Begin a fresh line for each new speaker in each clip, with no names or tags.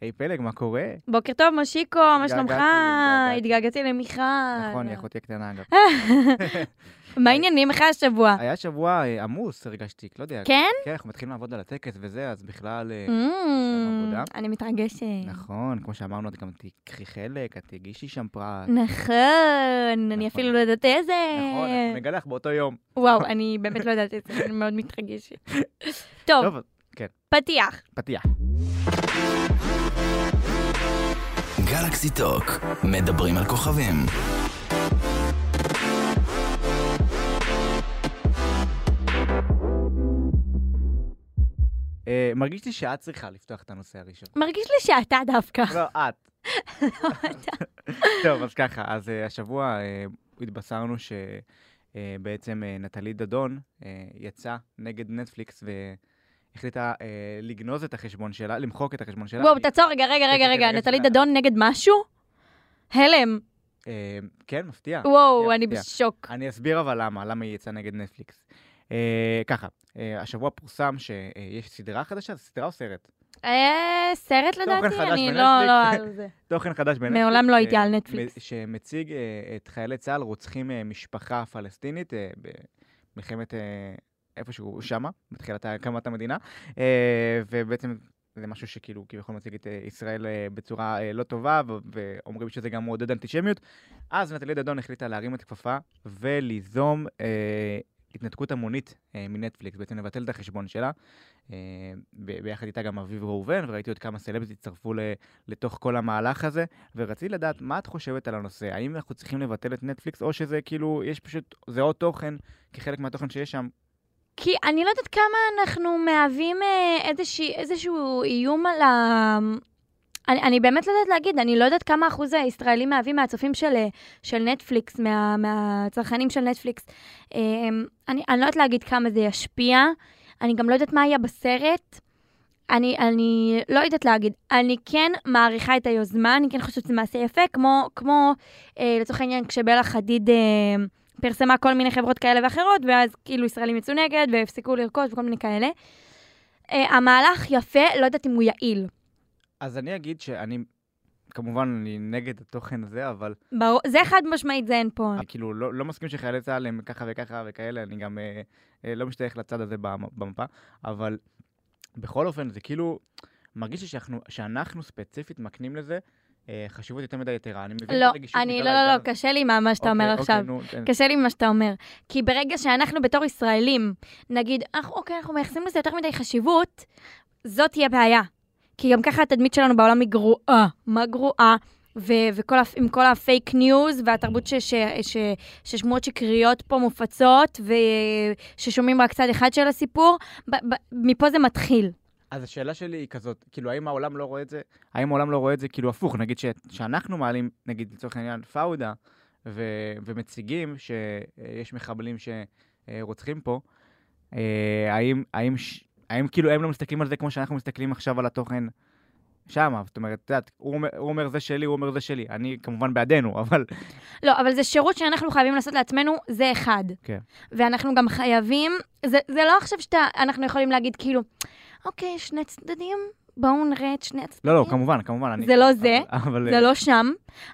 היי פלג, מה קורה?
בוקר טוב, משיקו, מה
התגעגעתי,
שלומך?
התגעגעתי.
התגעגעתי למיכל.
נכון, היא אחותי הקטנה אגב.
אה. מה העניינים? איך היה השבוע?
היה שבוע אה, עמוס, הרגשתי, לא יודע.
כן?
כן, אנחנו מתחילים לעבוד על הטקס וזה, אז בכלל... אה,
Mm,
עבודה.
אני מתרגשת.
נכון, כמו שאמרנו, את גם תיקחי חלק, את תגישי שם פרט.
נכון,
נכון.
אני אפילו לא יודעת איזה.
נכון, אנחנו נגלח באותו יום.
וואו, אני באמת לא יודעת את זה, אני מאוד מתרגשת. טוב,
טוב,
פתיח.
פתיח.
גלקסי טוק, מדברים על כוכבים.
אה, מרגיש לי שאת צריכה לפתוח את הנושא הראשון.
מרגיש לי שאתה דווקא.
לא, את.
לא,
טוב, אז ככה, אז אה, השבוע אה, התבשרנו שבעצם נטלי דדון אה, יצאה נגד נטפליקס והחליטה אה, לגנוז את החשבון שלה, למחוק את החשבון שלה.
וואו,
היא-
תעצור רגע, רגע, רגע,
כן,
רגע,
כן,
נטלי
כן.
דדון נגד משהו? הלם.
אה, כן, מפתיע.
וואו,
מפתיע,
אני
מפתיע.
בשוק.
אני אסביר אבל למה, למה היא יצאה נגד נטפליקס. אה, ככה, אה, השבוע פורסם שיש סדרה חדשה, זו סדרה או סרט?
אה, סרט לדעתי?
חדש
אני לא,
בנטפליקס.
לא על זה.
תוכן חדש בנטפליקס.
מעולם לא
אה,
הייתי על נטפליקס.
מ- שמציג אה, את חיילי צה"ל רוצחים אה, משפחה פלסטינית אה, במלחמת אה, איפשהו שמה, בתחילת הקמת המדינה, אה, ובעצם זה משהו שכאילו כביכול מציג את אה, ישראל אה, בצורה אה, לא טובה, ו- ואומרים שזה גם מעודד אנטישמיות. אז נטלי דדון החליטה להרים את הכפפה וליזום אה, התנתקות המונית אה, מנטפליקס, בעצם לבטל את החשבון שלה. אה, ב- ביחד איתה גם אביב ראובן, וראיתי עוד כמה סלבס הצטרפו ל- לתוך כל המהלך הזה. ורציתי לדעת מה את חושבת על הנושא, האם אנחנו צריכים לבטל את נטפליקס, או שזה כאילו, יש פשוט, זה עוד תוכן, כחלק מהתוכן שיש שם.
כי אני לא יודעת כמה אנחנו מהווים אה, איזושהי, איזשהו איום על ה... אני, אני באמת לא יודעת להגיד, אני לא יודעת כמה אחוז הישראלים מהווים מהצופים של, אה, של נטפליקס, מה, מהצרכנים של נטפליקס. אה, אני, אני לא יודעת להגיד כמה זה ישפיע, אני גם לא יודעת מה היה בסרט. אני, אני לא יודעת להגיד, אני כן מעריכה את היוזמה, אני כן חושבת שזה מעשה יפה, כמו, כמו אה, לצורך העניין כשבלה חדיד אה, פרסמה כל מיני חברות כאלה ואחרות, ואז כאילו ישראלים יצאו נגד והפסיקו לרכוש וכל מיני כאלה. אה, המהלך יפה, לא יודעת אם הוא יעיל.
אז אני אגיד שאני, כמובן, אני נגד התוכן הזה, אבל
ברור, זה חד משמעית, זה אין פה.
אני כאילו לא, לא מסכים שחיילי צה"ל הם ככה וככה וכאלה, אני גם אה, אה, לא משתייך לצד הזה במ- במפה, אבל בכל אופן, זה כאילו, מרגיש לי שאנחנו, שאנחנו ספציפית מקנים לזה אה, חשיבות יותר מדי יתרה. אני מבין
לא,
את הרגישות
אני, לא,
בגלל
לא, לא,
העיקר.
קשה לי מה מה שאתה אומר
אוקיי,
עכשיו.
אוקיי, נו, תן.
קשה לי ממה שאתה אומר. כי ברגע שאנחנו בתור ישראלים, נגיד, אנחנו, אוקיי, אנחנו מייחסים לזה יותר מדי חשיבות, זאת תהיה בעיה. כי גם ככה התדמית שלנו בעולם היא גרועה. מה גרועה? ו- וכל הפ- עם כל הפייק ניוז והתרבות ש- ש- ש- ששמועות שקריות פה מופצות וששומעים רק צד אחד של הסיפור, ב- ב- מפה זה מתחיל.
אז השאלה שלי היא כזאת, כאילו, האם העולם לא רואה את זה? האם העולם לא רואה את זה כאילו הפוך? נגיד ש, שאנחנו מעלים, נגיד לצורך העניין, פאודה, ו, ומציגים שיש מחבלים שרוצחים פה, אה, האם, האם, ש- האם כאילו הם לא מסתכלים על זה כמו שאנחנו מסתכלים עכשיו על התוכן שמה? זאת אומרת, את יודעת, הוא, אומר- הוא אומר זה שלי, הוא אומר זה שלי. אני כמובן בעדנו, אבל...
לא, אבל זה שירות שאנחנו חייבים לעשות לעצמנו, זה אחד.
כן.
ואנחנו גם חייבים, זה, זה לא עכשיו שאנחנו יכולים להגיד כאילו, אוקיי, שני צדדים, בואו נראה את שני הצדדים.
לא, לא, כמובן, כמובן. אני,
זה לא זה,
אבל, אבל,
זה לא שם.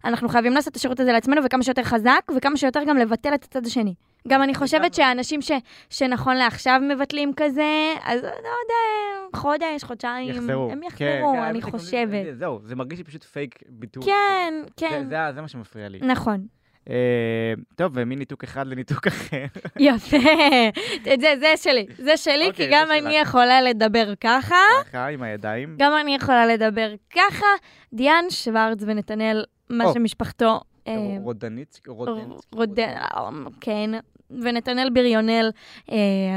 אנחנו חייבים לעשות את השירות הזה לעצמנו, וכמה שיותר חזק, וכמה שיותר גם לבטל את הצד השני. גם אני חושבת שהאנשים ש, שנכון לעכשיו מבטלים כזה, אז לא יודע, חודש, חודשיים,
יחזרו.
הם
כן,
יחזרו,
כן,
אני
זה-
חושבת.
זה- זהו, זה מרגיש לי פשוט פייק ביטוי.
כן, כן,
זה, זה, זה מה שמפריע לי.
נכון.
אה, טוב, ומניתוק אחד לניתוק אחר.
יפה, את זה, זה שלי, זה שלי, כי
אוקיי,
גם
זה
אני
שלך.
יכולה לדבר ככה,
ככה, עם הידיים.
גם אני יכולה לדבר ככה. דיאן שוורץ ונתנאל, מה
או.
שמשפחתו... אה,
רודנית,
ר-
רודנית.
רודן, אה, כן, ונתנאל בריונל, אה,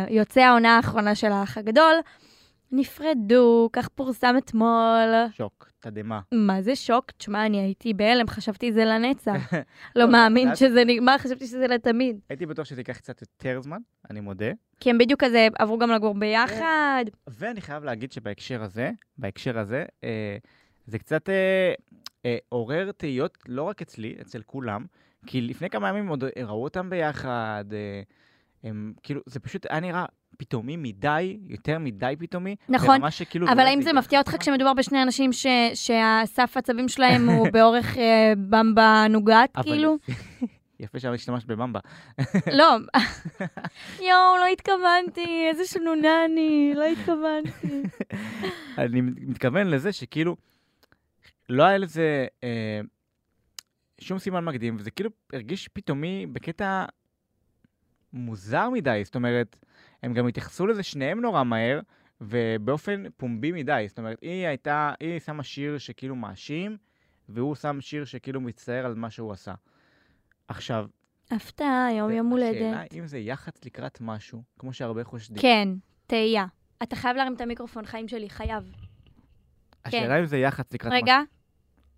יוצא העונה האחרונה של האח הגדול, נפרדו, כך פורסם אתמול.
שוק, תדהמה.
מה זה שוק? תשמע, אני הייתי בהלם, חשבתי זה לנצח. לא מאמין
אז-
שזה נגמר, חשבתי שזה לתמיד.
הייתי בטוח שזה ייקח קצת יותר זמן, אני מודה.
כי הם בדיוק כזה עברו גם לגור ביחד,
ואני חייב להגיד שבהקשר הזה, בהקשר הזה, אה, זה קצת אה, אה, עורר תהיות, לא רק אצלי, אצל כולם, כי לפני כמה ימים עוד ראו אותם ביחד, אה, הם כאילו, זה פשוט היה נראה פתאומי מדי, יותר מדי פתאומי.
נכון,
ברמה שכאילו... לא
אבל
באמת
האם זה
הגיע-
מפתיע אותך כשמדובר בשני אנשים ש- שהסף עצבים שלהם הוא באורך אה, במבה נוגת,
אבל
כאילו?
יפה- יפה שם השתמשת בבמבה.
לא. יואו, לא התכוונתי, איזה שנונה אני, לא התכוונתי.
אני מתכוון לזה שכאילו, לא היה לזה אה, שום סימן מקדים, וזה כאילו הרגיש פתאומי בקטע מוזר מדי. זאת אומרת, הם גם התייחסו לזה שניהם נורא מהר, ובאופן פומבי מדי. זאת אומרת, היא הייתה, היא שמה שיר שכאילו מאשים, והוא שם שיר שכאילו מצטער על מה שהוא עשה. עכשיו,
הפתעה, יום יום
השאלה
הולדת.
אם זה יח"צ לקראת משהו, כמו שהרבה חושדים.
כן, תהייה. אתה חייב להרים את המיקרופון, חיים שלי, חייב.
השאלה אם זה יח"צ לקראת משהו.
כן. רגע,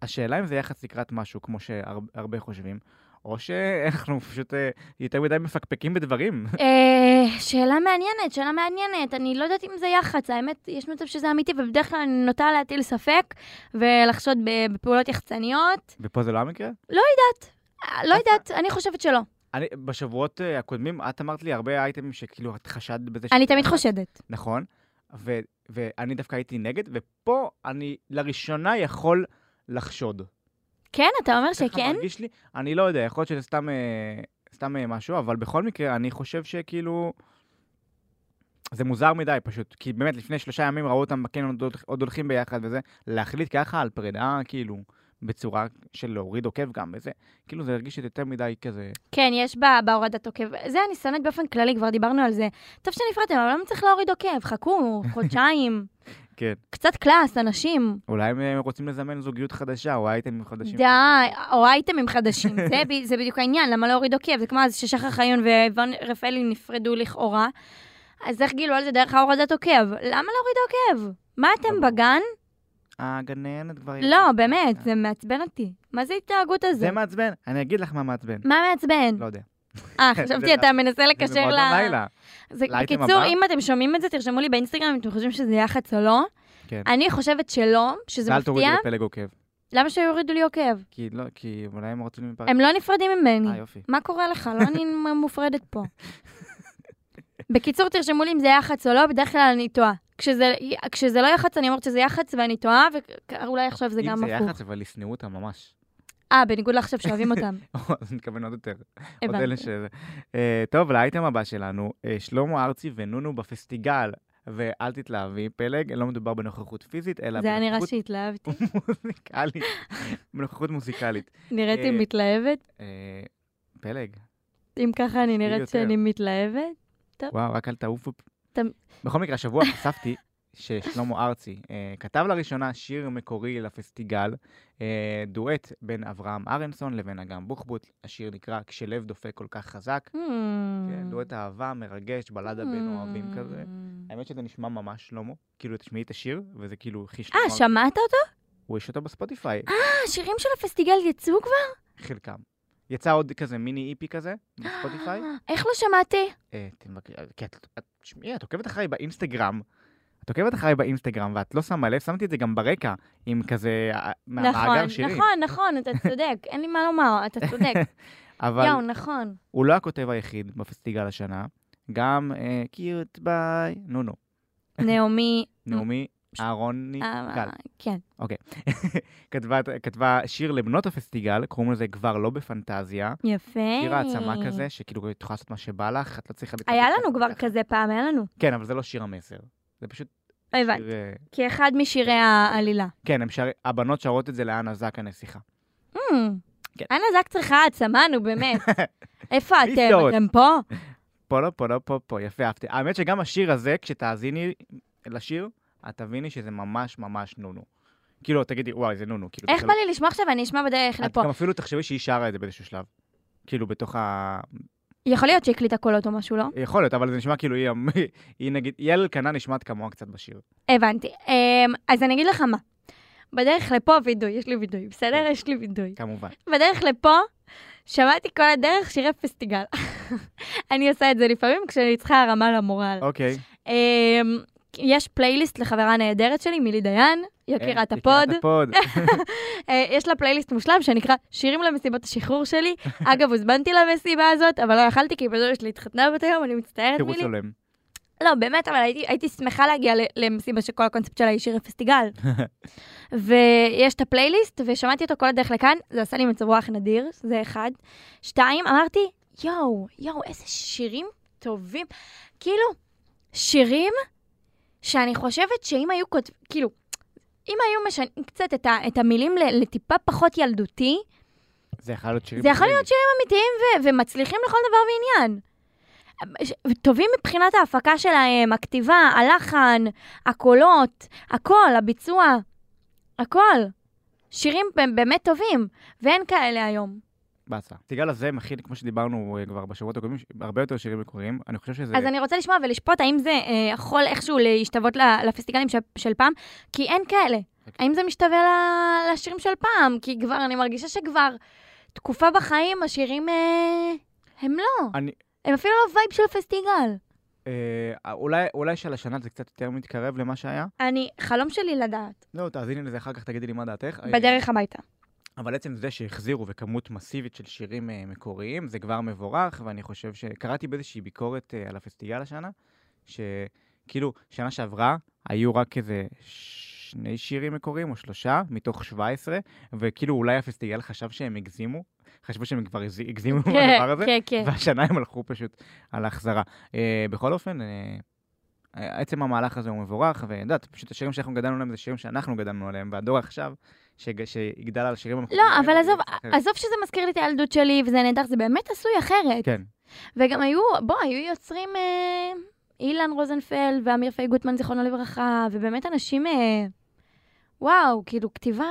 השאלה אם זה יחס לקראת משהו, כמו שהרבה חושבים, או שאנחנו פשוט אה, יותר מדי מפקפקים בדברים.
אה, שאלה מעניינת, שאלה מעניינת. אני לא יודעת אם זה יח"צ, האמת, יש מצב שזה אמיתי, ובדרך כלל אני נוטה להטיל ספק ולחשוד ב- בפעולות יחצניות.
ופה זה לא המקרה?
אה, לא יודעת, אני חושבת שלא.
אני, בשבועות אה, הקודמים, את אמרת לי הרבה אייטמים שכאילו את חשדת בזה ש...
אני תמיד חושדת.
נכון, ו, ואני דווקא הייתי נגד, ופה אני לראשונה יכול לחשוד.
כן, אתה אומר
ככה
שכן?
מרגיש לי, אני לא יודע, יכול להיות שזה סתם, אה, סתם אה, משהו, אבל בכל מקרה, אני חושב שכאילו... זה מוזר מדי פשוט, כי באמת לפני שלושה ימים ראו אותם בקניון עוד הולכ- עוד הולכים ביחד וזה, להחליט ככה על פרידה, כאילו, בצורה של להוריד עוקב גם וזה, כאילו זה הרגיש לי יותר מדי כזה,
כן, יש בה- בהורדת עוקב. זה אני שונאת באופן כללי, כבר דיברנו על זה. טוב שנפרדתם, אבל למה צריך להוריד עוקב? חכו, חודשיים.
כן.
קצת קלאס, אנשים.
אולי הם אה, רוצים לזמן זוגיות חדשה או אייטמים חדשים.
די, או אייטמים חדשים, זה, ב- זה בדיוק העניין, למה להוריד עוקב? זה כמו אז ששחר חיון ואיוון רפאלי נפרדו לכאורה, אז איך גילו על זה דרך ההורדת עוקב? למה להוריד עוקב? מה אתם
ברור.
בגן?
אה, הגננת כבר...
לא, באמת, זה מעצבן אותי. מה זה ההתנהגות הזו?
אה, זה מעצבן? אני אגיד לך מה מעצבן.
מה מעצבן?
לא יודע.
אה,
זה-
חשבתי, אתה מנסה
זה
לקשר ל...
במועדון לילה.
זה-
לאייטם
בקיצור,
הבא?
אם אתם שומעים את זה, תרשמו לי באינסטגרם אם אתם חושבים שזה יח"צ או לא.
כן.
אני חושבת שלא, שזה
ואל תורידי
מפתיע.
לפלג עוקב.
למה שיורידו לי עוקב?
כי לא, כי אולי הם רוצים להיפרד.
הם לא נפרדים ממני.
אה, יופי.
מה קורה לך? לא אני מופרדת פה. בקיצור, תרשמו לי אם זה יח"צ או לא, בדרך כלל אני טועה. כשזה, כשזה לא יח"צ, אני אומרת שזה יח"צ ואני טועה, ואולי עכשיו זה גם
אם זה
הפוך.
יח"צ, אבל ישנאו אותה ממש.
אה, בניגוד לעכשיו שאוהבים אותם.
אז נתכוון עוד יותר. עוד אלה
הבנתי.
ש... אה, טוב, לאייטם הבא שלנו, אה, שלמה ארצי ונונו בפסטיגל. ואל תתלהבי, פלג, לא מדובר בנוכחות פיזית, אלא
זה היה נראה
בנוכחות
שהתלהבתי.
מוזיקלית. בנוכחות מוזיקלית.
נראיתי
אה,
מתלהבת.
אה, פלג,
אם ככה
תהיי
אני נראית
יותר.
שאני מתלהבת.
וואו, רק אל תעופו.
אתה-
בכל מקרה, השבוע חשפתי ששלמה ארצי אה, כתב לראשונה שיר מקורי לפסטיגל, אה, דואט בין אברהם אהרנסון לבין אגם בוחבוט. השיר נקרא "כשלב דופק כל כך חזק".
Hmm. Mm.
כן, דואט אהבה, מרגש, בלדה בין אוהבים כזה.
אה,
האמת שזה נשמע ממש שלמה, כאילו תשמעי את השיר, וזה כאילו הכי שלמה.
אה, שמעת אותו? אה,
הוא יש אותו בספוטיפיי,
השירים של הפסטיגל יצאו כבר?
חלקם. יצא עוד כזה מיני איפי כזה, בספוטיפיי.
איך לא שמעתי?
אה, תבקרי, כי את, את, תשמעי, את עוקבת אחריי באינסטגרם. את עוקבת אחריי באינסטגרם, ואת לא שמה לב, שמתי את זה גם ברקע, עם כזה, אה,
נכון,
מהמאגר שירים.
נכון, נכון, אתה צודק, אין לי מה לומר, אתה צודק.
אבל
יואו, נכון.
הוא לא הכותב היחיד בפסטיגל השנה, גם אה, קיוט ביי, נו נו,
נעמי,
נעמי אהרוני
אה,
גל.
כן.
כתבה, כתבה שיר לבנות הפסטיגל, קוראים לזה כבר לא בפנטזיה.
יפה.
שיר העצמה כזה, שכאילו את יכולה לעשות מה שבא לך, את לא צריכה...
היה
להתלבש לך.
לנו כבר כזה פעם, היה לנו. לא
כן, אבל זה לא שיר המסר. זה פשוט
הבנתי.
שיר... אה,
כאחד משירי העלילה.
כן, הם שר... הבנות שרות את זה לאנה זק הנסיכה.
Hmm,
כן.
אנה זק צריכה העצמה, נו באמת. איפה אתם?
להתראות.
אתם פה?
פה לא, פה לא, פה, פה, יפה, אהבתי. האמת שגם השיר הזה, כשתאזיני לשיר, את תביני שזה ממש ממש נונו. כאילו, תגידי, וואי, זה נונו. כאילו,
איך
זה
בא לי לשמוע עכשיו? אני אשמע בדרך
לא... את
לפה.
גם אפילו תחשבי שהיא שרה את זה באיזשהו שלב. כאילו, בתוך ה...
יכול להיות שהקליטה קולות או משהו, לא?
יכול להיות, אבל זה נשמע כאילו היא, היא נגיד, יעל אלקנה נשמעת כמוה קצת בשיר.
הבנתי. אמ, אז אני אגיד לך מה. בדרך לפה וידוי, יש לי וידוי, בסדר?
כן.
יש לי וידוי.
כמובן.
בדרך לפה, שמעתי כל הדרך שירי פסטיגל. אני עושה את זה לפעמים כשאני צריכה הרמה למורל.
אוקיי.
אמ, יש פלייליסט לחברה נהדרת שלי, מילי דיין, יקירת
אה,
הפוד.
יקירת הפוד.
אה, יש לה פלייליסט מושלם שנקרא שירים למסיבות השחרור שלי. אגב, הוזמנתי למסיבה הזאת, אבל לא יכלתי כי בזו שלי התחתנה באותו יום, אני מצטערת
תירוץ
מילי.
הולם.
לא, באמת, אבל הייתי, הייתי שמחה להגיע ל- למסיבה שכל הקונספט שלה היא שיר אפס תיגל. ויש את הפלייליסט, ושמעתי אותו כל הדרך לכאן, זה עשה לי מצב רוח נדיר, זה אחד. שתיים, אמרתי, יואו, יואו, איזה שירים טובים. כאילו, שירים שאני חושבת שאם היו כותבים, כאילו, אם היו משנים קצת את, ה, את המילים ל- לטיפה פחות ילדותי,
זה יכול להיות שירים...
זה יכול
מדהימים.
להיות שירים אמיתיים ו- ומצליחים לכל דבר ועניין. ש- טובים מבחינת ההפקה שלהם, הכתיבה, הלחן, הקולות, הכל, הביצוע, הכל. שירים ב- באמת טובים, ואין כאלה היום.
באסה. סיגל הזה מכיל, כמו שדיברנו אה, כבר בשבועות הקודמים, ש- הרבה יותר שירים מקוריים. אני חושב שזה...
אז אני רוצה לשמוע ולשפוט האם זה אה, יכול איכשהו להשתוות ל- לפסטיגלים של, של פעם, כי אין כאלה. האם זה משתווה ל- לשירים של פעם? כי כבר, אני מרגישה שכבר תקופה בחיים השירים אה, הם לא.
אני-
הם אפילו לא וייב של פסטיגל.
אה, אולי, אולי של השנה זה קצת יותר מתקרב למה שהיה.
אני, חלום שלי לדעת,
לא, תאזיני לזה אחר כך, תגידי לי מה דעתך. אה,
בדרך הביתה.
אבל עצם זה שהחזירו וכמות מסיבית של שירים אה, מקוריים, זה כבר מבורך, ואני חושב ש... קראתי באיזושהי ביקורת אה, על הפסטיגל השנה, שכאילו, שנה שעברה היו רק איזה שני שירים מקוריים, או שלושה, מתוך 17, וכאילו אולי הפסטיגל חשב שהם הגזימו, חשבו שהם כבר הגז- הגזימו בדבר הזה,
כן, כן.
והשנה הם הלכו פשוט על ההחזרה. אה, בכל אופן, אה, עצם המהלך הזה הוא מבורך, ואת יודעת, פשוט השירים שאנחנו גדלנו עליהם זה שירים שאנחנו גדלנו עליהם, והדור עכשיו, שג, שיגדל על השירים המקוריים.
לא, אבל
האלה,
עזוב,
זה אחרת.
עזוב שזה מזכיר לי את הילדות שלי, וזה נהדר, זה באמת עשוי אחרת.
כן,
וגם היו, בוא, היו יוצרים אה, אילן רוזנפלד ואמיר פי גוטמן, זיכרונו לברכה, ובאמת אנשים, אה, וואו, כאילו, כתיבה,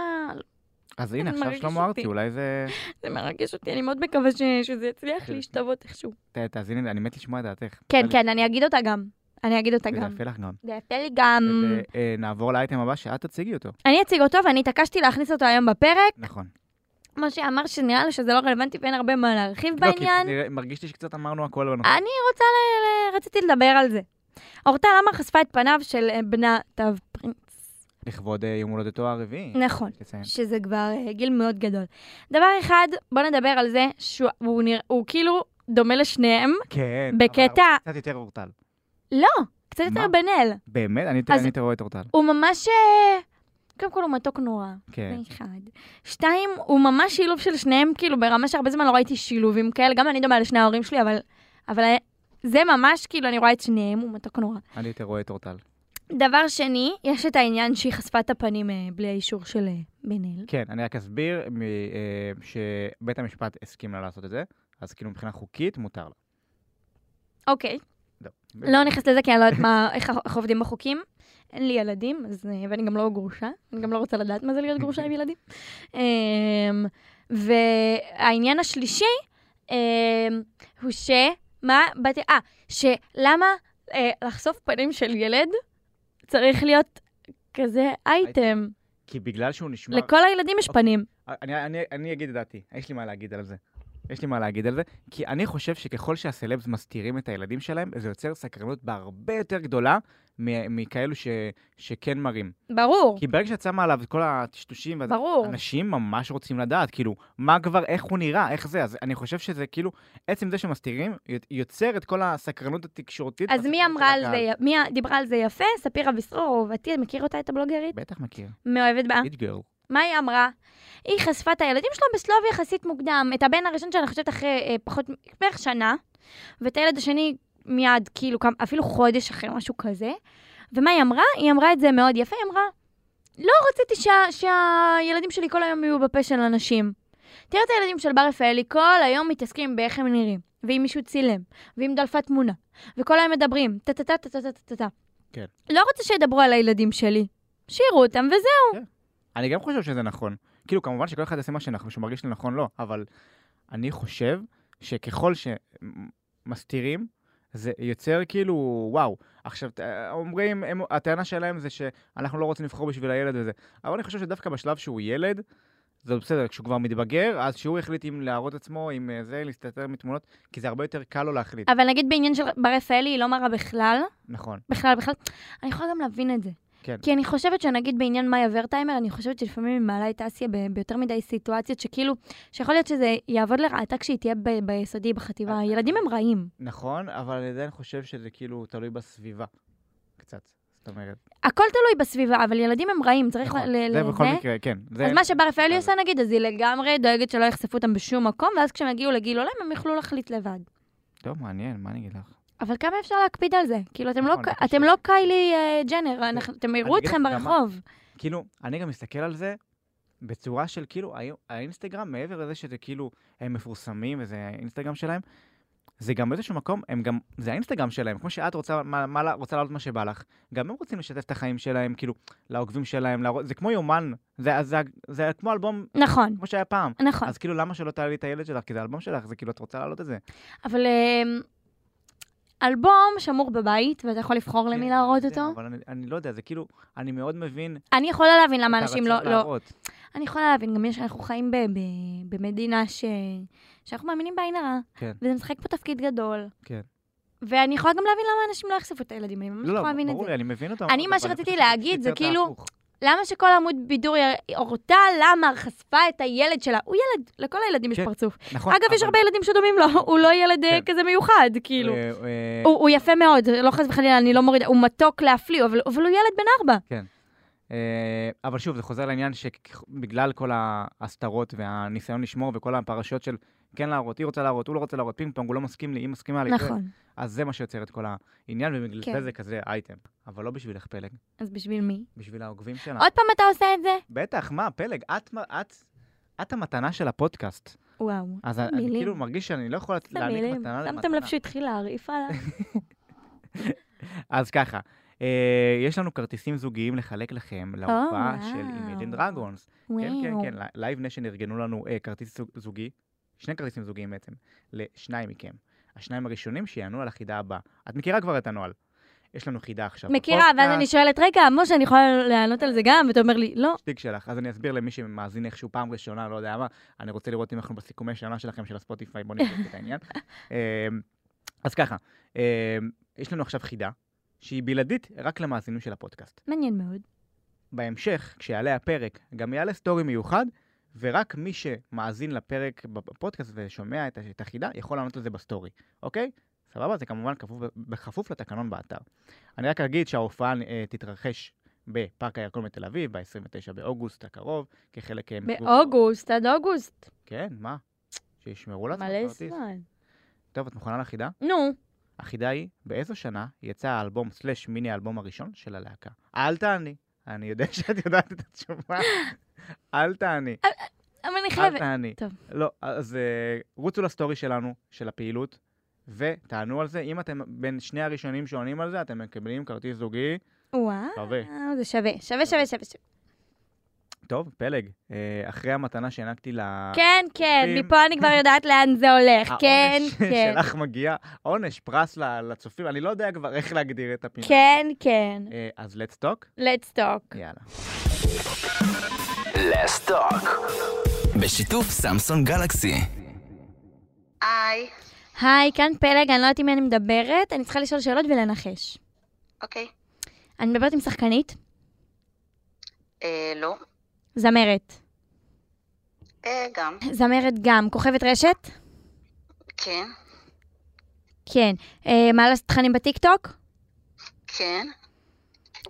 אז הנה,
אני
עכשיו
מרגיש
שלמה ארצי,
אותי.
אולי זה...
זה מרגש אותי, אני מאוד מקווה ש- שזה יצליח
כן.
להשתוות איכשהו.
ת- תאזיני, אני מת לשמוע את דעתך.
כן, כן, אני אגיד אותה גם. אני אגיד אותה
זה
גם. Mm.
יפה לך גם.
זה יפה לי גם.
נעבור לאייטם הבא שאת תציגי אותו.
אני אציג אותו, ואני התעקשתי להכניס אותו היום בפרק.
נכון.
משה אמר שנראה לו שזה לא רלוונטי ואין הרבה מה להרחיב
לא, כי
בעניין. אה.
נראה- מרגיש לי שקצת אמרנו הכל בנושא.
אני רוצה, ל- ל- רציתי לדבר על זה. אורטל עמר חשפה את פניו של אה, בנה תו פרינץ.
לכבוד אה, יום הולדתו הרביעי.
נכון.
יש לציין.
שזה כבר אה, גיל מאוד גדול. דבר אחד, בוא נדבר על זה שהוא הוא נרא- הוא כאילו דומה לשניהם,
כן. אבל
בקטע,
קצת יותר אורטל.
לא, קצת
מה?
יותר בן-אל.
באמת? אני יותר-
אז-
אני יותר רואה את אורטל.
הוא ממש... אה, קודם כל הוא מתוק נורא,
כן.
זה אחד. שתיים, הוא ממש שילוב של שניהם, כאילו ברמה שהרבה זמן לא ראיתי שילובים כאלה, גם אני דומה לשני ההורים שלי, אבל, אבל אה, זה ממש, כאילו, אני רואה את שניהם, הוא מתוק נורא.
אני יותר רואה את אורטל.
דבר שני, יש את העניין שהיא חשפה את הפנים אה, בלי האישור של אה, בן אל.
כן, אני רק אסביר מ- אה, שבית המשפט הסכים לה לעשות את זה, אז כאילו מבחינה חוקית מותר לה.
אוקיי.
זהו.
לא נכנסת לזה, כי אני לא יודעת מה, איך אנחנו עובדים בחוקים. אין לי ילדים, אז, אה, ואני גם לא גרושה. אני גם לא רוצה לדעת מה זה להיות גרושה עם ילדים. אמ, והעניין השלישי אמ, הוא ש... מה? באתי... אה, שלמה אה, לחשוף פנים של ילד צריך להיות כזה אייטם.
כי בגלל שהוא נשמר...
לכל הילדים יש
אוקיי.
פנים.
אני, אני, אני אגיד את דעתי, יש לי מה להגיד על זה. יש לי מה להגיד על זה, כי אני חושב שככל שהסלבס מסתירים את הילדים שלהם, זה יוצר סקרנות בהרבה יותר גדולה מ- מכאלו ש, שכן מראים.
ברור,
כי ברגע שאת שמה עליו את כל הטשטושים, ואז
ברור.
אנשים ממש רוצים לדעת, כאילו, מה כבר, איך הוא נראה, איך זה, אז אני חושב שזה כאילו, עצם זה שמסתירים, יוצ- יוצר את כל הסקרנות התקשורתית.
אז מי
והסקרנות של
אמרה על
הקהל.
זה, י- מי דיברה על זה יפה? ספירה ביסרור, אהובתי, מכיר אותה, את הבלוגרית?
בטח מכיר,
מאוהבת בה.
איט גרל.
מה היא אמרה? היא חשפה את הילדים שלה בשלב יחסית מוקדם, את הבן הראשון שאני חושבת אחרי אה, פחות, מ- בערך שנה, ואת הילד השני מיד, כאילו, כמה- אפילו חודש אחרי משהו כזה. ומה היא אמרה? היא אמרה את זה מאוד יפה, היא אמרה, לא רציתי שה, שהילדים שלי כל היום יהיו בפה של אנשים. תראה את הילדים של בר רפאלי, כל היום מתעסקים באיך הם נראים, ואם מישהו צילם, ואם דלפה תמונה, וכל היום מדברים, טה טה טה טה טה טה טה.
כן.
לא רוצה שידברו על הילדים שלי, שיראו אותם וזה.
אני גם חושב שזה נכון. כאילו, כמובן שכל אחד יעשה מה שנכון, שהוא מרגיש לנכון לא, אבל אני חושב שככל שמסתירים, זה יוצר כאילו, וואו. עכשיו, ת- אומרים, הם, הטענה שלהם זה שאנחנו לא רוצים לבחור בשביל הילד וזה, אבל אני חושב שדווקא בשלב שהוא ילד, זה בסדר, כשהוא כבר מתבגר, אז שהוא יחליט אם להראות עצמו, אם אה, זה, להסתתר מתמונות, כי זה הרבה יותר קל לו להחליט.
אה. אבל נגיד בעניין של בר רפאלי, היא לא מרה בכלל,
נכון.
בכלל, בכלל, אני יכולה גם להבין את זה.
כן.
כי אני חושבת שנגיד בעניין מאיה ורטהיימר, אני חושבת שלפעמים היא מעלה את אסיה ב- ביותר מדי סיטואציות שכאילו, שיכול להיות שזה יעבוד לרעתה כשהיא תהיה ב- ביסודי, בחטיבה.
אה,
ילדים הם רעים.
נכון, אבל אני עדיין חושב שזה כאילו תלוי בסביבה, קצת. זאת אומרת,
הכל תלוי בסביבה, אבל ילדים הם רעים, צריך
נכון.
ל... ל-
זה
ל-
בכל מקרה, כן. זה-
אז מה שבר רפאלי
אבל-
עושה נגיד, אז היא לגמרי דואגת שלא יחשפו אותם בשום מקום, ואז כשהם יגיעו לגיל הולם, הם יוכלו להחליט לבד.
טוב, מעניין, מה אני אגיד לך?
אבל כמה אפשר להקפיד על זה? כאילו, אתם לא,
נכון, זה
אתם
קשה.
לא קיילי אה, ג'נר, אנחנו- אתם יראו
אגיד
אתכם
לך גם מה.
ברחוב.
כאילו, אני גם מסתכל על זה בצורה של כאילו, האי- האינסטגרם, מעבר לזה שזה כאילו, הם מפורסמים וזה האינסטגרם שלהם, זה גם באיזשהו מקום, הם גם, זה האינסטגרם שלהם, כמו שאת רוצה, מה, מה, רוצה לעלות מה שבא לך, גם הם רוצים לשתף את החיים שלהם, כאילו, לעוקבים שלהם, להראות, זה כמו יומן, זה, זה, זה, זה כמו אלבום,
נכון,
כמו שהיה פעם.
נכון.
אז כאילו, למה שלא תעלי את הילד שלך? כי זה אלבום שלך, זה כאילו, את רוצה להעלות את זה.
אבל אמ, אלבום שמור בבית, ואתה יכול לבחור
כן,
למי להראות
אני יודע,
אותו.
אבל אני, אני לא יודע, זה כאילו, אני מאוד מבין את
אני יכולה להבין למה אנשים
הרצון
לא... לא-
להראות.
אני יכולה להבין, גם יש, אנחנו חיים ב- ב- במדינה ש... שאנחנו מאמינים בעין הרע,
כן.
וזה משחק פה תפקיד גדול.
כן.
ואני יכולה גם להבין למה אנשים לא יחשפו את הילדים, אני ממש
לא, לא,
יכולה להבין את
ברור
זה.
לי, אני מבין אותם.
אני, מה
אבל
שרציתי
חושב
להגיד
שצריך
זה
להיות
כאילו-
ההפוך.
למה שכל עמוד בידור י- הורתה למה חשפה את הילד שלה? הוא ילד, לכל הילדים יש
כן,
פרצוף.
נכון.
אגב, יש
אבל-
הרבה ילדים שדומים לו, הוא לא ילד אה,
כן.
כזה מיוחד, כאילו.
אה, אה,
הוא הוא יפה מאוד, לא חס וחלילה, אני לא מורידה, הוא מתוק להפליא, אבל אבל הוא ילד בן ארבע.
אה, אבל שוב, זה חוזר לעניין שבגלל כל ההסתרות והניסיון לשמור וכל הפרשות של כן להראות, היא רוצה להראות, הוא לא רוצה להראות, פינג פונג, הוא לא מסכים לי, היא מסכימה לי. זה-
נכון.
אז זה מה שיוצר את כל העניין, ובגלל
כן.
זה זה כזה אייטם. אבל לא בשבילך פלג,
אז בשביל מי?
בשביל העוקבים שלה.
עוד פעם אתה עושה את זה?
בטח, מה, פלג, את מ- את- את המתנה של הפודקאסט.
וואו.
אז אני
מילים.
כאילו מרגיש שאני לא יכול
איזה
להעניק
מילים.
מתנה
שמתם לב
למתנה.
שהוא התחיל להרעיף עליו?
אז ככה, אה, יש לנו כרטיסים זוגיים לחלק לכם להופעה
וואו.
של Imagine Dragons. כן, כן,
וואו.
כן, לייב ניישן ארגנו לנו אה, כרטיס זוג- זוגי, שני כרטיסים זוגיים בעצם, לשניים מכם. השניים הראשונים שיענו על החידה הבאה. את מכירה כבר את הנוהל. יש לנו חידה עכשיו.
מכירה, ואז אני
בפודקאסט,
שואלת, רגע, משה, אני יכולה לענות על זה גם? ואתה אומר לי, לא.
שטיק שלך. אז אני אסביר למי שמאזין איכשהו פעם ראשונה, לא יודע מה, אני רוצה לראות אם אנחנו בסיכומי שנה שלכם של הספוטיפיי, בואו נבדוק את העניין. אה, אז ככה, אה, יש לנו עכשיו חידה, שהיא בלעדית רק למאזינים של הפודקאסט.
מעניין מאוד.
בהמשך, כשיעלה הפרק, גם יעלה סטורי מיוחד, ורק מי שמאזין לפרק בפודקאסט ושומע את ה- את החידה, יכול לענות על זה בסטורי, אוקיי? סבבה? זה כמובן כפוף, בכפוף לתקנון באתר. אני רק אגיד שההופעה אה, תתרחש בפארק הירקון בתל אביב, ב-29 באוגוסט הקרוב, כחלק... אה, מסיבוב-
באוגוסט, עד אוגוסט.
כן, מה? שישמרו לעצמם
מלא
כרטיס.
זמן.
טוב, את מוכנה לחידה?
נו,
החידה היא, באיזו שנה יצא האלבום סלאש מיני האלבום הראשון של הלהקה? אל תעני. אני יודע שאת יודעת את התשובה. אל תעני.
אבל אני
אל
חייבת.
תעני.
אה, טוב.
לא, אז אה, רוצו לסטורי שלנו, של הפעילות, ותענו על זה. אם אתם בין שני הראשונים שעונים על זה, אתם מקבלים כרטיס זוגי.
וואו,
שווה.
זה שווה, שווה, שווה, שווה. שווה.
טוב, פלג, אה, אחרי המתנה שהענקתי ל...
כן, כן,
עוקבים.
מפה אני כבר יודעת לאן זה הולך. כן,
העונש
כן.
שלך מגיע, עונש, פרס ל- לצופים, אני לא יודע כבר איך להגדיר את הפינה.
כן, כן.
אה, אז let's talk,
let's talk.
יאללה.
בשיתוף סמסון גלקסי.
היי,
היי, כאן פלג, אני לא יודעת עם מי אני מדברת, אני צריכה לשאול שאלות ולנחש.
אוקיי.
אני מדברת עם שחקנית,
אה, לא.
זמרת.
אה, גם.
זמרת גם, כוכבת רשת?
כן,
כן. אה, מעלה תכנים בטיקטוק?
כן,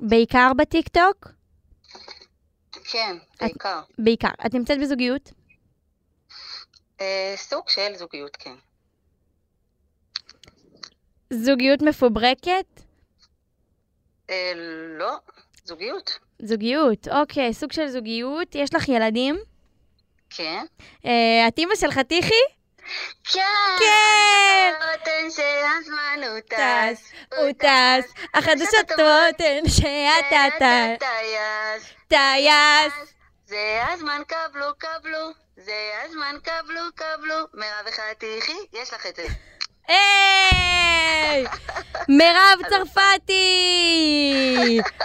בעיקר בטיקטוק?
כן, בעיקר.
בעיקר. את נמצאת בזוגיות?
אה, סוג של זוגיות, כן.
זוגיות מפוברקת?
אה, לא, זוגיות.
זוגיות, אוקיי, סוג של זוגיות. יש לך ילדים?
כן.
אה, את אימא שלך טיחי?
כן!
כן!
רוטן שהזמן הוא
טס, הוא טס, החדשות טובות הן שאתה
ואתה
טס,
טייס.
טייס.
זה הזמן, קבלו, קבלו. זה הזמן, קבלו, קבלו. מירב וחתיכי, יש לך את זה.
היי! מירב צרפתי!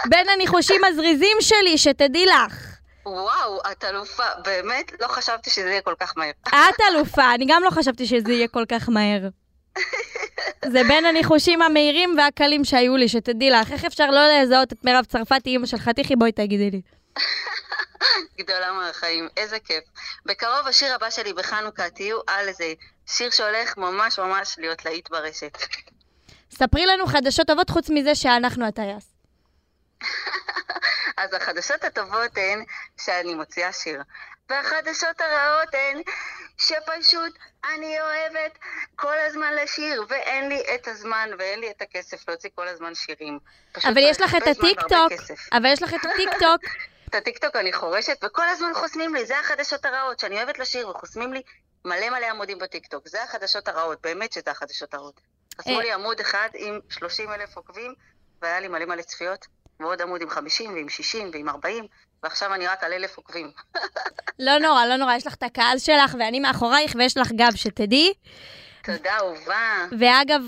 בין הניחושים הזריזים שלי, שתדעי לך.
וואו, את אלופה. באמת, לא חשבתי שזה יהיה כל כך מהר.
את אלופה, אני גם לא חשבתי שזה יהיה כל כך מהר. זה בין הניחושים המהירים והקלים שהיו לי, שתדעי לך, איך אפשר לא לזהות את מירב צרפתי, אימא של חתיכי, בואי תגידי לי.
גדולה מהחיים, איזה כיף. בקרוב השיר הבא שלי בחנוכה, תהיו על זה. שיר שהולך ממש ממש להיות להיט ברשת.
ספרי לנו חדשות טובות חוץ מזה שאנחנו הטייס.
אז החדשות הטובות הן שאני מוציאה שיר. והחדשות הרעות הן שפשוט אני אוהבת כל הזמן לשיר, ואין לי את הזמן ואין לי את הכסף להוציא כל הזמן שירים. פשוט
אבל יש לך
הרבה
את
זמן והרבה
הטיקטוק,
כסף.
אבל יש לך את הטיקטוק.
את הטיקטוק אני חורשת, וכל הזמן חוסמים לי, זה החדשות הרעות, שאני אוהבת לשיר, וחוסמים לי מלא מלא עמודים בטיקטוק. זה החדשות הרעות, באמת שזה החדשות הרעות. חסמו
אה.
לי עמוד אחד עם 30 אלף עוקבים, והיה לי מלא מלא צפיות, ועוד עמוד עם 50 ועם 60 ועם 40, ועכשיו אני רק על אלף עוקבים.
לא נורא, לא נורא, יש לך את הקהל שלך, ואני מאחורייך, ויש לך גב, שתדעי.
תודה, אהובה.
ואגב,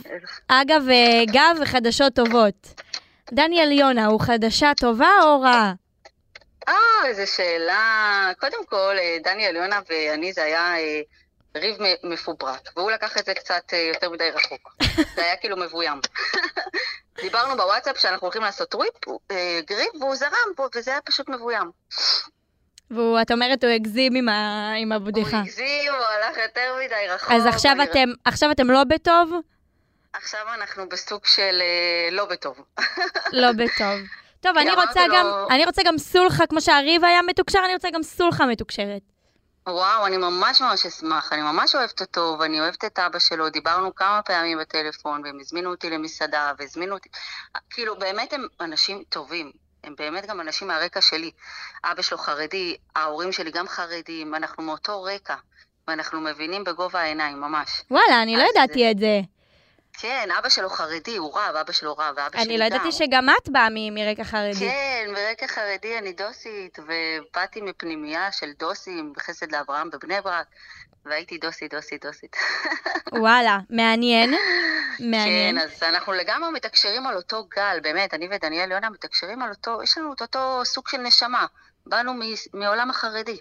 אגב, אה, גב וחדשות טובות. דניאל יונה, הוא חדשה טובה או רעה?
אה, איזו שאלה. קודם כל, אה, דניאל יונה ואני, זה היה אה, ריב מ- מפוברק, והוא לקח את זה קצת אה, יותר מדי רחוק. זה היה כאילו מבוים. דיברנו בוואטסאפ שאנחנו הולכים לעשות טריפ, הוא, אה, גריב, והוא זרם פה, וזה היה פשוט מבוים.
ואת אומרת, הוא הגזים עם ה- עם הבדיחה.
הוא הגזים, הוא הלך יותר מדי רחוק.
אז עכשיו
אני-
אתם, עכשיו אתם לא בטוב?
עכשיו אנחנו בסוג של אה, לא בטוב.
לא בטוב. טוב,
כי
אני
אמרתי
רוצה
לו-
גם, אני רוצה גם סולחה, כמו שהריב היה מתוקשר, אני רוצה גם סולחה מתוקשרת.
וואו, אני ממש ממש אשמח, אני ממש אוהבת אותו, ואני אוהבת את אבא שלו, דיברנו כמה פעמים בטלפון, והם הזמינו אותי למסעדה, והזמינו אותי... כאילו, באמת הם אנשים טובים, הם באמת גם אנשים מהרקע שלי. אבא שלו חרדי, ההורים שלי גם חרדים, אנחנו מאותו רקע, ואנחנו מבינים בגובה העיניים, ממש.
וואלה, אני לא
אז
ידעתי
זה-
את זה.
כן, אבא שלו חרדי, הוא רב, אבא שלו רב, ואבא שלי גם.
אני לא ידעתי שגם את באה מ- מרקע חרדי.
כן, ברקע חרדי אני דוסית, ובאתי מפנימייה של דוסים בחסד לאברהם בבני ברק, והייתי דוסית, דוסית, דוסית.
וואלה, מעניין. מעניין.
כן, אז אנחנו לגמרי מתקשרים על אותו גל, באמת, אני ודניאל יונה מתקשרים על אותו, יש לנו את אותו סוג של נשמה. באנו מ- מעולם החרדי.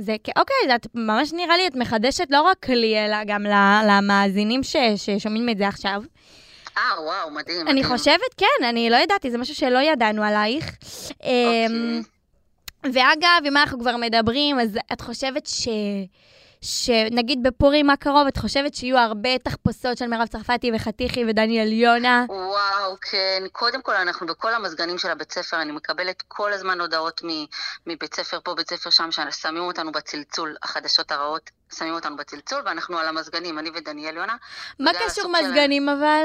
זה, כ- אוקיי, את ממש נראה לי, את מחדשת לא רק לי, אלא גם ל- למאזינים ש- ששומעים את זה עכשיו.
אה, וואו, מדהים.
אני
מדהים.
חושבת, כן, אני לא ידעתי, זה משהו שלא ידענו עלייך.
אוקיי.
אמ, ואגב, אם אנחנו כבר מדברים, אז את חושבת ש... שנגיד בפורים הקרוב, את חושבת שיהיו הרבה תחפושות של מירב צרפתי וחתיכי ודניאל יונה?
וואו, כן. קודם כל, אנחנו בכל המזגנים של הבית ספר, אני מקבלת כל הזמן הודעות מ- מבית ספר פה, בית ספר שם, ששמים אותנו בצלצול, החדשות הרעות, שמים אותנו בצלצול, ואנחנו על המזגנים, לא, אני ודניאל יונה.
מה
זה
קשור
הסוג של-
מזגנים אבל?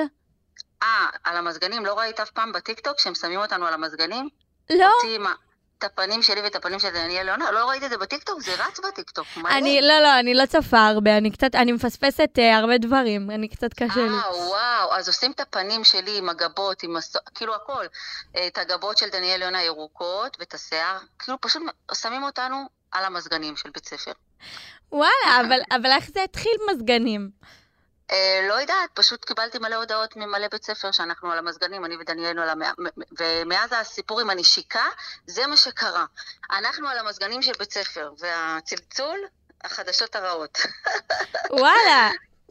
אה, על המזגנים, לא ראית אף פעם בטיקטוק שהם שמים אותנו על המזגנים?
לא,
אותי עם ה- את הפנים שלי ואת הפנים של דניאל יונה, לא ראית את זה בטיקטוק? זה רץ בטיקטוק. מה
אני,
זה?
לא, לא, אני לא צופה הרבה, אני קצת, אני מפספסת אה, הרבה דברים, אני קצת קשה לי.
אה, וואו, אז עושים את הפנים שלי עם הגבות, עם הס... כאילו הכל. אה, את הגבות של דניאל יונה ירוקות ואת השיער, כאילו פשוט שמים אותנו על המזגנים של בית ספר.
וואלה, אבל, אבל איך זה התחיל מזגנים?
אה, לא יודעת, פשוט קיבלתי מלא הודעות ממלא בית ספר שאנחנו על המזגנים, אני ודניאל על המאה, ומאז הסיפור עם הנשיקה, זה מה שקרה. אנחנו על המזגנים של בית ספר, והצלצול, החדשות הרעות.
וואלה,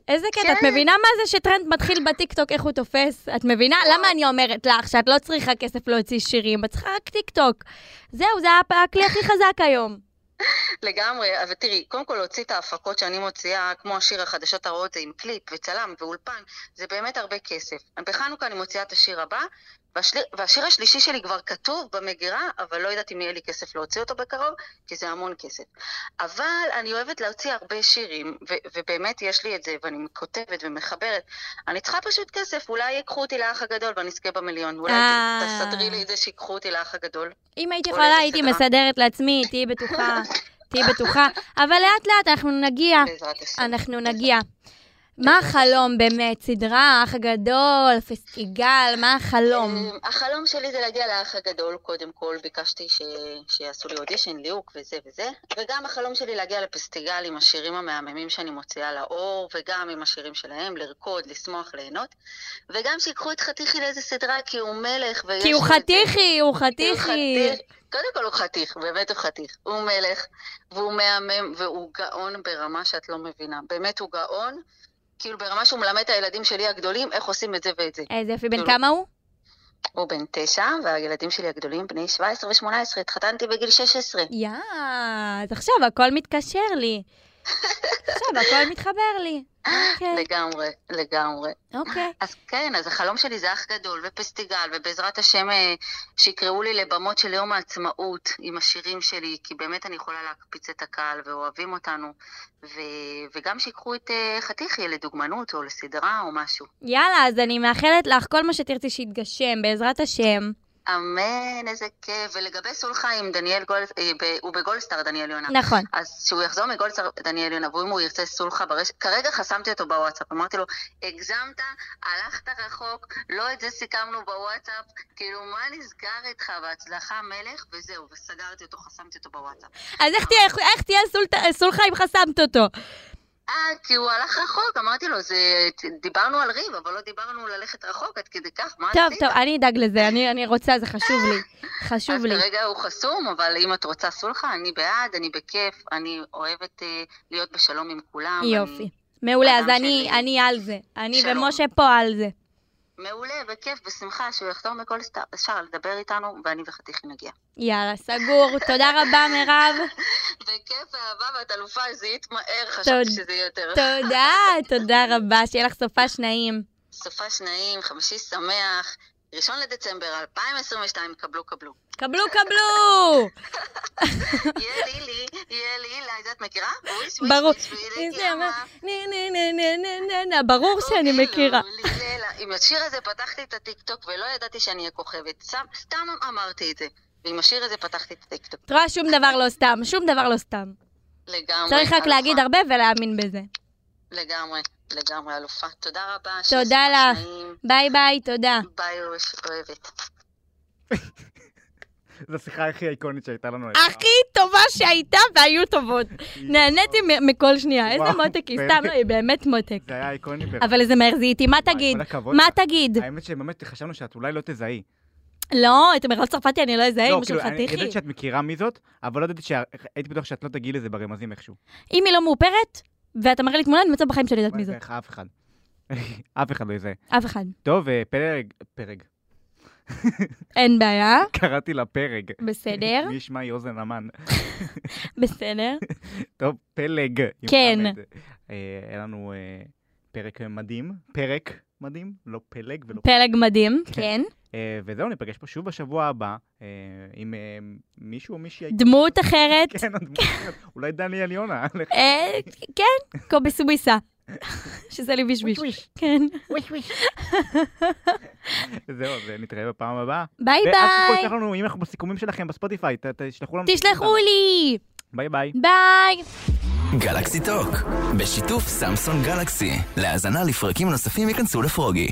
איזה קטע. את
כן.
מבינה מה זה שטרנד מתחיל בטיקטוק, איך הוא תופס? את מבינה?
וואו.
למה אני אומרת לך שאת לא צריכה כסף להוציא שירים, את צריכה רק טיקטוק. זהו, זה הפ- הכלי הכי חזק היום.
לגמרי, אבל תראי, קודם כל להוציא את ההפקות שאני מוציאה, כמו השיר החדשות הרעות, זה עם קליפ וצלם ואולפן, זה באמת הרבה כסף. בחנוכה אני מוציאה את השיר הבא, והשיר, והשיר השלישי שלי כבר כתוב במגירה, אבל לא יודעת אם יהיה לי כסף להוציא אותו בקרוב, כי זה המון כסף. אבל אני אוהבת להוציא הרבה שירים, ו- ובאמת יש לי את זה, ואני כותבת ומחברת. אני צריכה פשוט כסף, אולי ייקחו אותי לאח הגדול ואני אזכה במיליון. אולי
אה.
תסדרי לי את זה שיקחו אותי לאח הגדול.
אם הייתי
אולי
יכולה,
זה
הייתי
סדרה.
מסדרת לעצמי, תהיי בטוחה, תהיי בטוחה. אבל לאט-לאט אנחנו נגיע,
בעזרת השם.
אה, אנחנו נגיע. מה החלום באמת? סדרה, האח הגדול, פסטיגל, מה החלום?
אמ, החלום שלי זה להגיע לאח הגדול, קודם כל. ביקשתי ש... שיעשו לי אודישן, ליהוק וזה וזה. וגם החלום שלי להגיע לפסטיגל עם השירים המהממים שאני מוציאה לאור, וגם עם השירים שלהם, לרקוד, לשמוח, ליהנות. וגם שיקחו את חתיכי לאיזה סדרה, כי הוא מלך ויש...
כי הוא
לו אה, את זה.
חתיכי, הוא
כי הוא
חתיכי.
חתיך. קודם כל הוא חתיך, באמת הוא חתיך. הוא מלך, והוא מהמם, והוא גאון ברמה שאת לא מבינה. באמת הוא גאון. כאילו ברמה שהוא מלמד את הילדים שלי הגדולים איך עושים את זה ואת זה.
איזה יופי, בן
לא.
כמה הוא?
הוא בן תשע, והילדים שלי הגדולים בני 17 ו-18, התחתנתי בגיל 16.
יא, אז עכשיו הכל מתקשר לי. עכשיו הכל מתחבר לי. אוקיי,
לגמרי, לגמרי.
אוקיי.
אז כן, אז החלום שלי זה אח גדול ופסטיגל, ובעזרת השם אה, שיקראו לי לבמות של יום העצמאות עם השירים שלי, כי באמת אני יכולה להקפיץ את הקהל ואוהבים אותנו, ו... וגם שיקחו את אה, חתיכי לדוגמנות או לסדרה או משהו.
יאללה, אז אני מאחלת לך כל מה שתרצי שיתגשם, בעזרת השם.
אמן, איזה כיף. ולגבי סולחיים, דניאל גולד... אה, ב... הוא בגולדסטאר, דניאל יונה.
נכון.
אז כשהוא יחזור מגולדסטאר, דניאל יונה, ואם הוא ירצה סולחה ברשת, כרגע חסמתי אותו בוואטסאפ, אמרתי לו, הגזמת, הלכת רחוק, לא את זה סיכמנו בוואטסאפ, כאילו, מה נסגר איתך? בהצלחה מלך, וזהו, וסגרתי אותו, חסמתי אותו בוואטסאפ.
אז איך תהיה- איך- איך תהיה סולט- סולחה אם חסמת אותו?
אה, כי הוא הלך רחוק, אמרתי לו, זה... דיברנו על ריב, אבל לא דיברנו ללכת רחוק עד כדי כך, מה
טוב,
עשית?
טוב, אני אדאג לזה, אני- אני רוצה, זה חשוב לי. חשוב לי.
אז כרגע הוא חסום, אבל אם את רוצה סולחה, אני בעד, אני בכיף, אני אוהבת אה, להיות בשלום עם כולם.
יופי.
אני...
מעולה, אז
אדם
אני-
שלי.
אני על זה. אני
שלום.
ומשה פה על זה.
מעולה, בכיף, בשמחה, שהוא יחתום מכל סטאר, אפשר לדבר איתנו, ואני וחתיכי נגיע.
יאללה, סגור. תודה רבה, מירב.
בכיף, אהבה, ואת אלופה, זיהית מהר, חשבתי שזה יהיה יותר.
תודה, תודה רבה. שיהיה לך סופש נעים.
סופה שניים, חמישי שמח, ראשון לדצמבר 2022, קבלו, קבלו.
קבלו, קבלו!
יהיה לילי, יהיה לילי, את מכירה? וויש, וויש,
ברור.
וויש, וויש,
מי זה
ימה.
אמר? נה, נה, נה, נה, נה, נה, נה, ברור שאני
אוקיי,
מכירה.
לא, לילה. עם השיר הזה פתחתי את הטיקטוק ולא ידעתי שאני אהיה כוכבת. סתם- סתם אמרתי את זה. ועם השיר הזה פתחתי את הטיקטוק.
את רואה, שום דבר לא סתם, שום דבר לא סתם.
לגמרי.
צריך רק
אלופה.
להגיד הרבה ולהאמין בזה.
לגמרי, לגמרי אלופה. תודה רבה.
תודה
שיהיה
לך.
סופש נעים.
ביי ביי, תודה.
ביי אוש, אוהבת.
זו השיחה הכי איקונית שהייתה לנו. אי פעם.
הכי טובה שהייתה והיו טובות. נהניתי מ- מכל שנייה, איזה
וואו,
מותק היא,
באמת.
סתם, לא, היא באמת מותק.
זה היה איקוני. ברמה.
אבל איזה מהר זיהיתי, מה
וואי,
תגיד?
כל הכבוד אה,
מה
לך.
תגיד?
האמת שבאמת חשבנו שאת אולי לא תזהי.
לא, את מירב צרפתי אני לא אזהה,
לא,
אמא של
כאילו, אני
חתיכי.
ידעתי שאת מכירה מי זאת, אבל לא ידעתי שהייתי בטוח שאת לא תגיעי לזה ברמזים איכשהו.
אם היא לא מאופרת, ואתה מראה לי תמונה, אני מצב בחיים שלי יודעת מי זאת.
איך אף אחד. אף אחד לא יזהה.
אף אחד.
טוב, אה, פרג, פרג.
אין בעיה,
קראתי לה פרג.
בסדר,
מי ישמע היא אוזן המן.
בסדר.
טוב, פלג. עם
כן.
חמד. אה, היה לנו אה, פרק מדהים, פרק מדהים, לא פלג ולא
פלג מדהים, כן.
אה, וזהו, ניפגש פה שוב בשבוע הבא אה, עם אה, מישהו או מישהי...
דמות אחרת.
כן, הדמות אחרת. אולי דניאל יונה. לך
אה, כן, קובי סוויסה. שזה לי בשביש. כן.
זהו, אז אה, נתראה בפעם הבאה.
ביי
ואל תשכחו,
ביי.
תשלחו לנו, אם אנחנו בסיכומים שלכם בספוטיפיי, ת- תשלחו לנו.
תשלחו לי.
ביי ביי.
ביי.
גלקסי טוק, בשיתוף סמסון גלקסי. להאזנה לפרקים נוספים ייכנסו לפרוגי.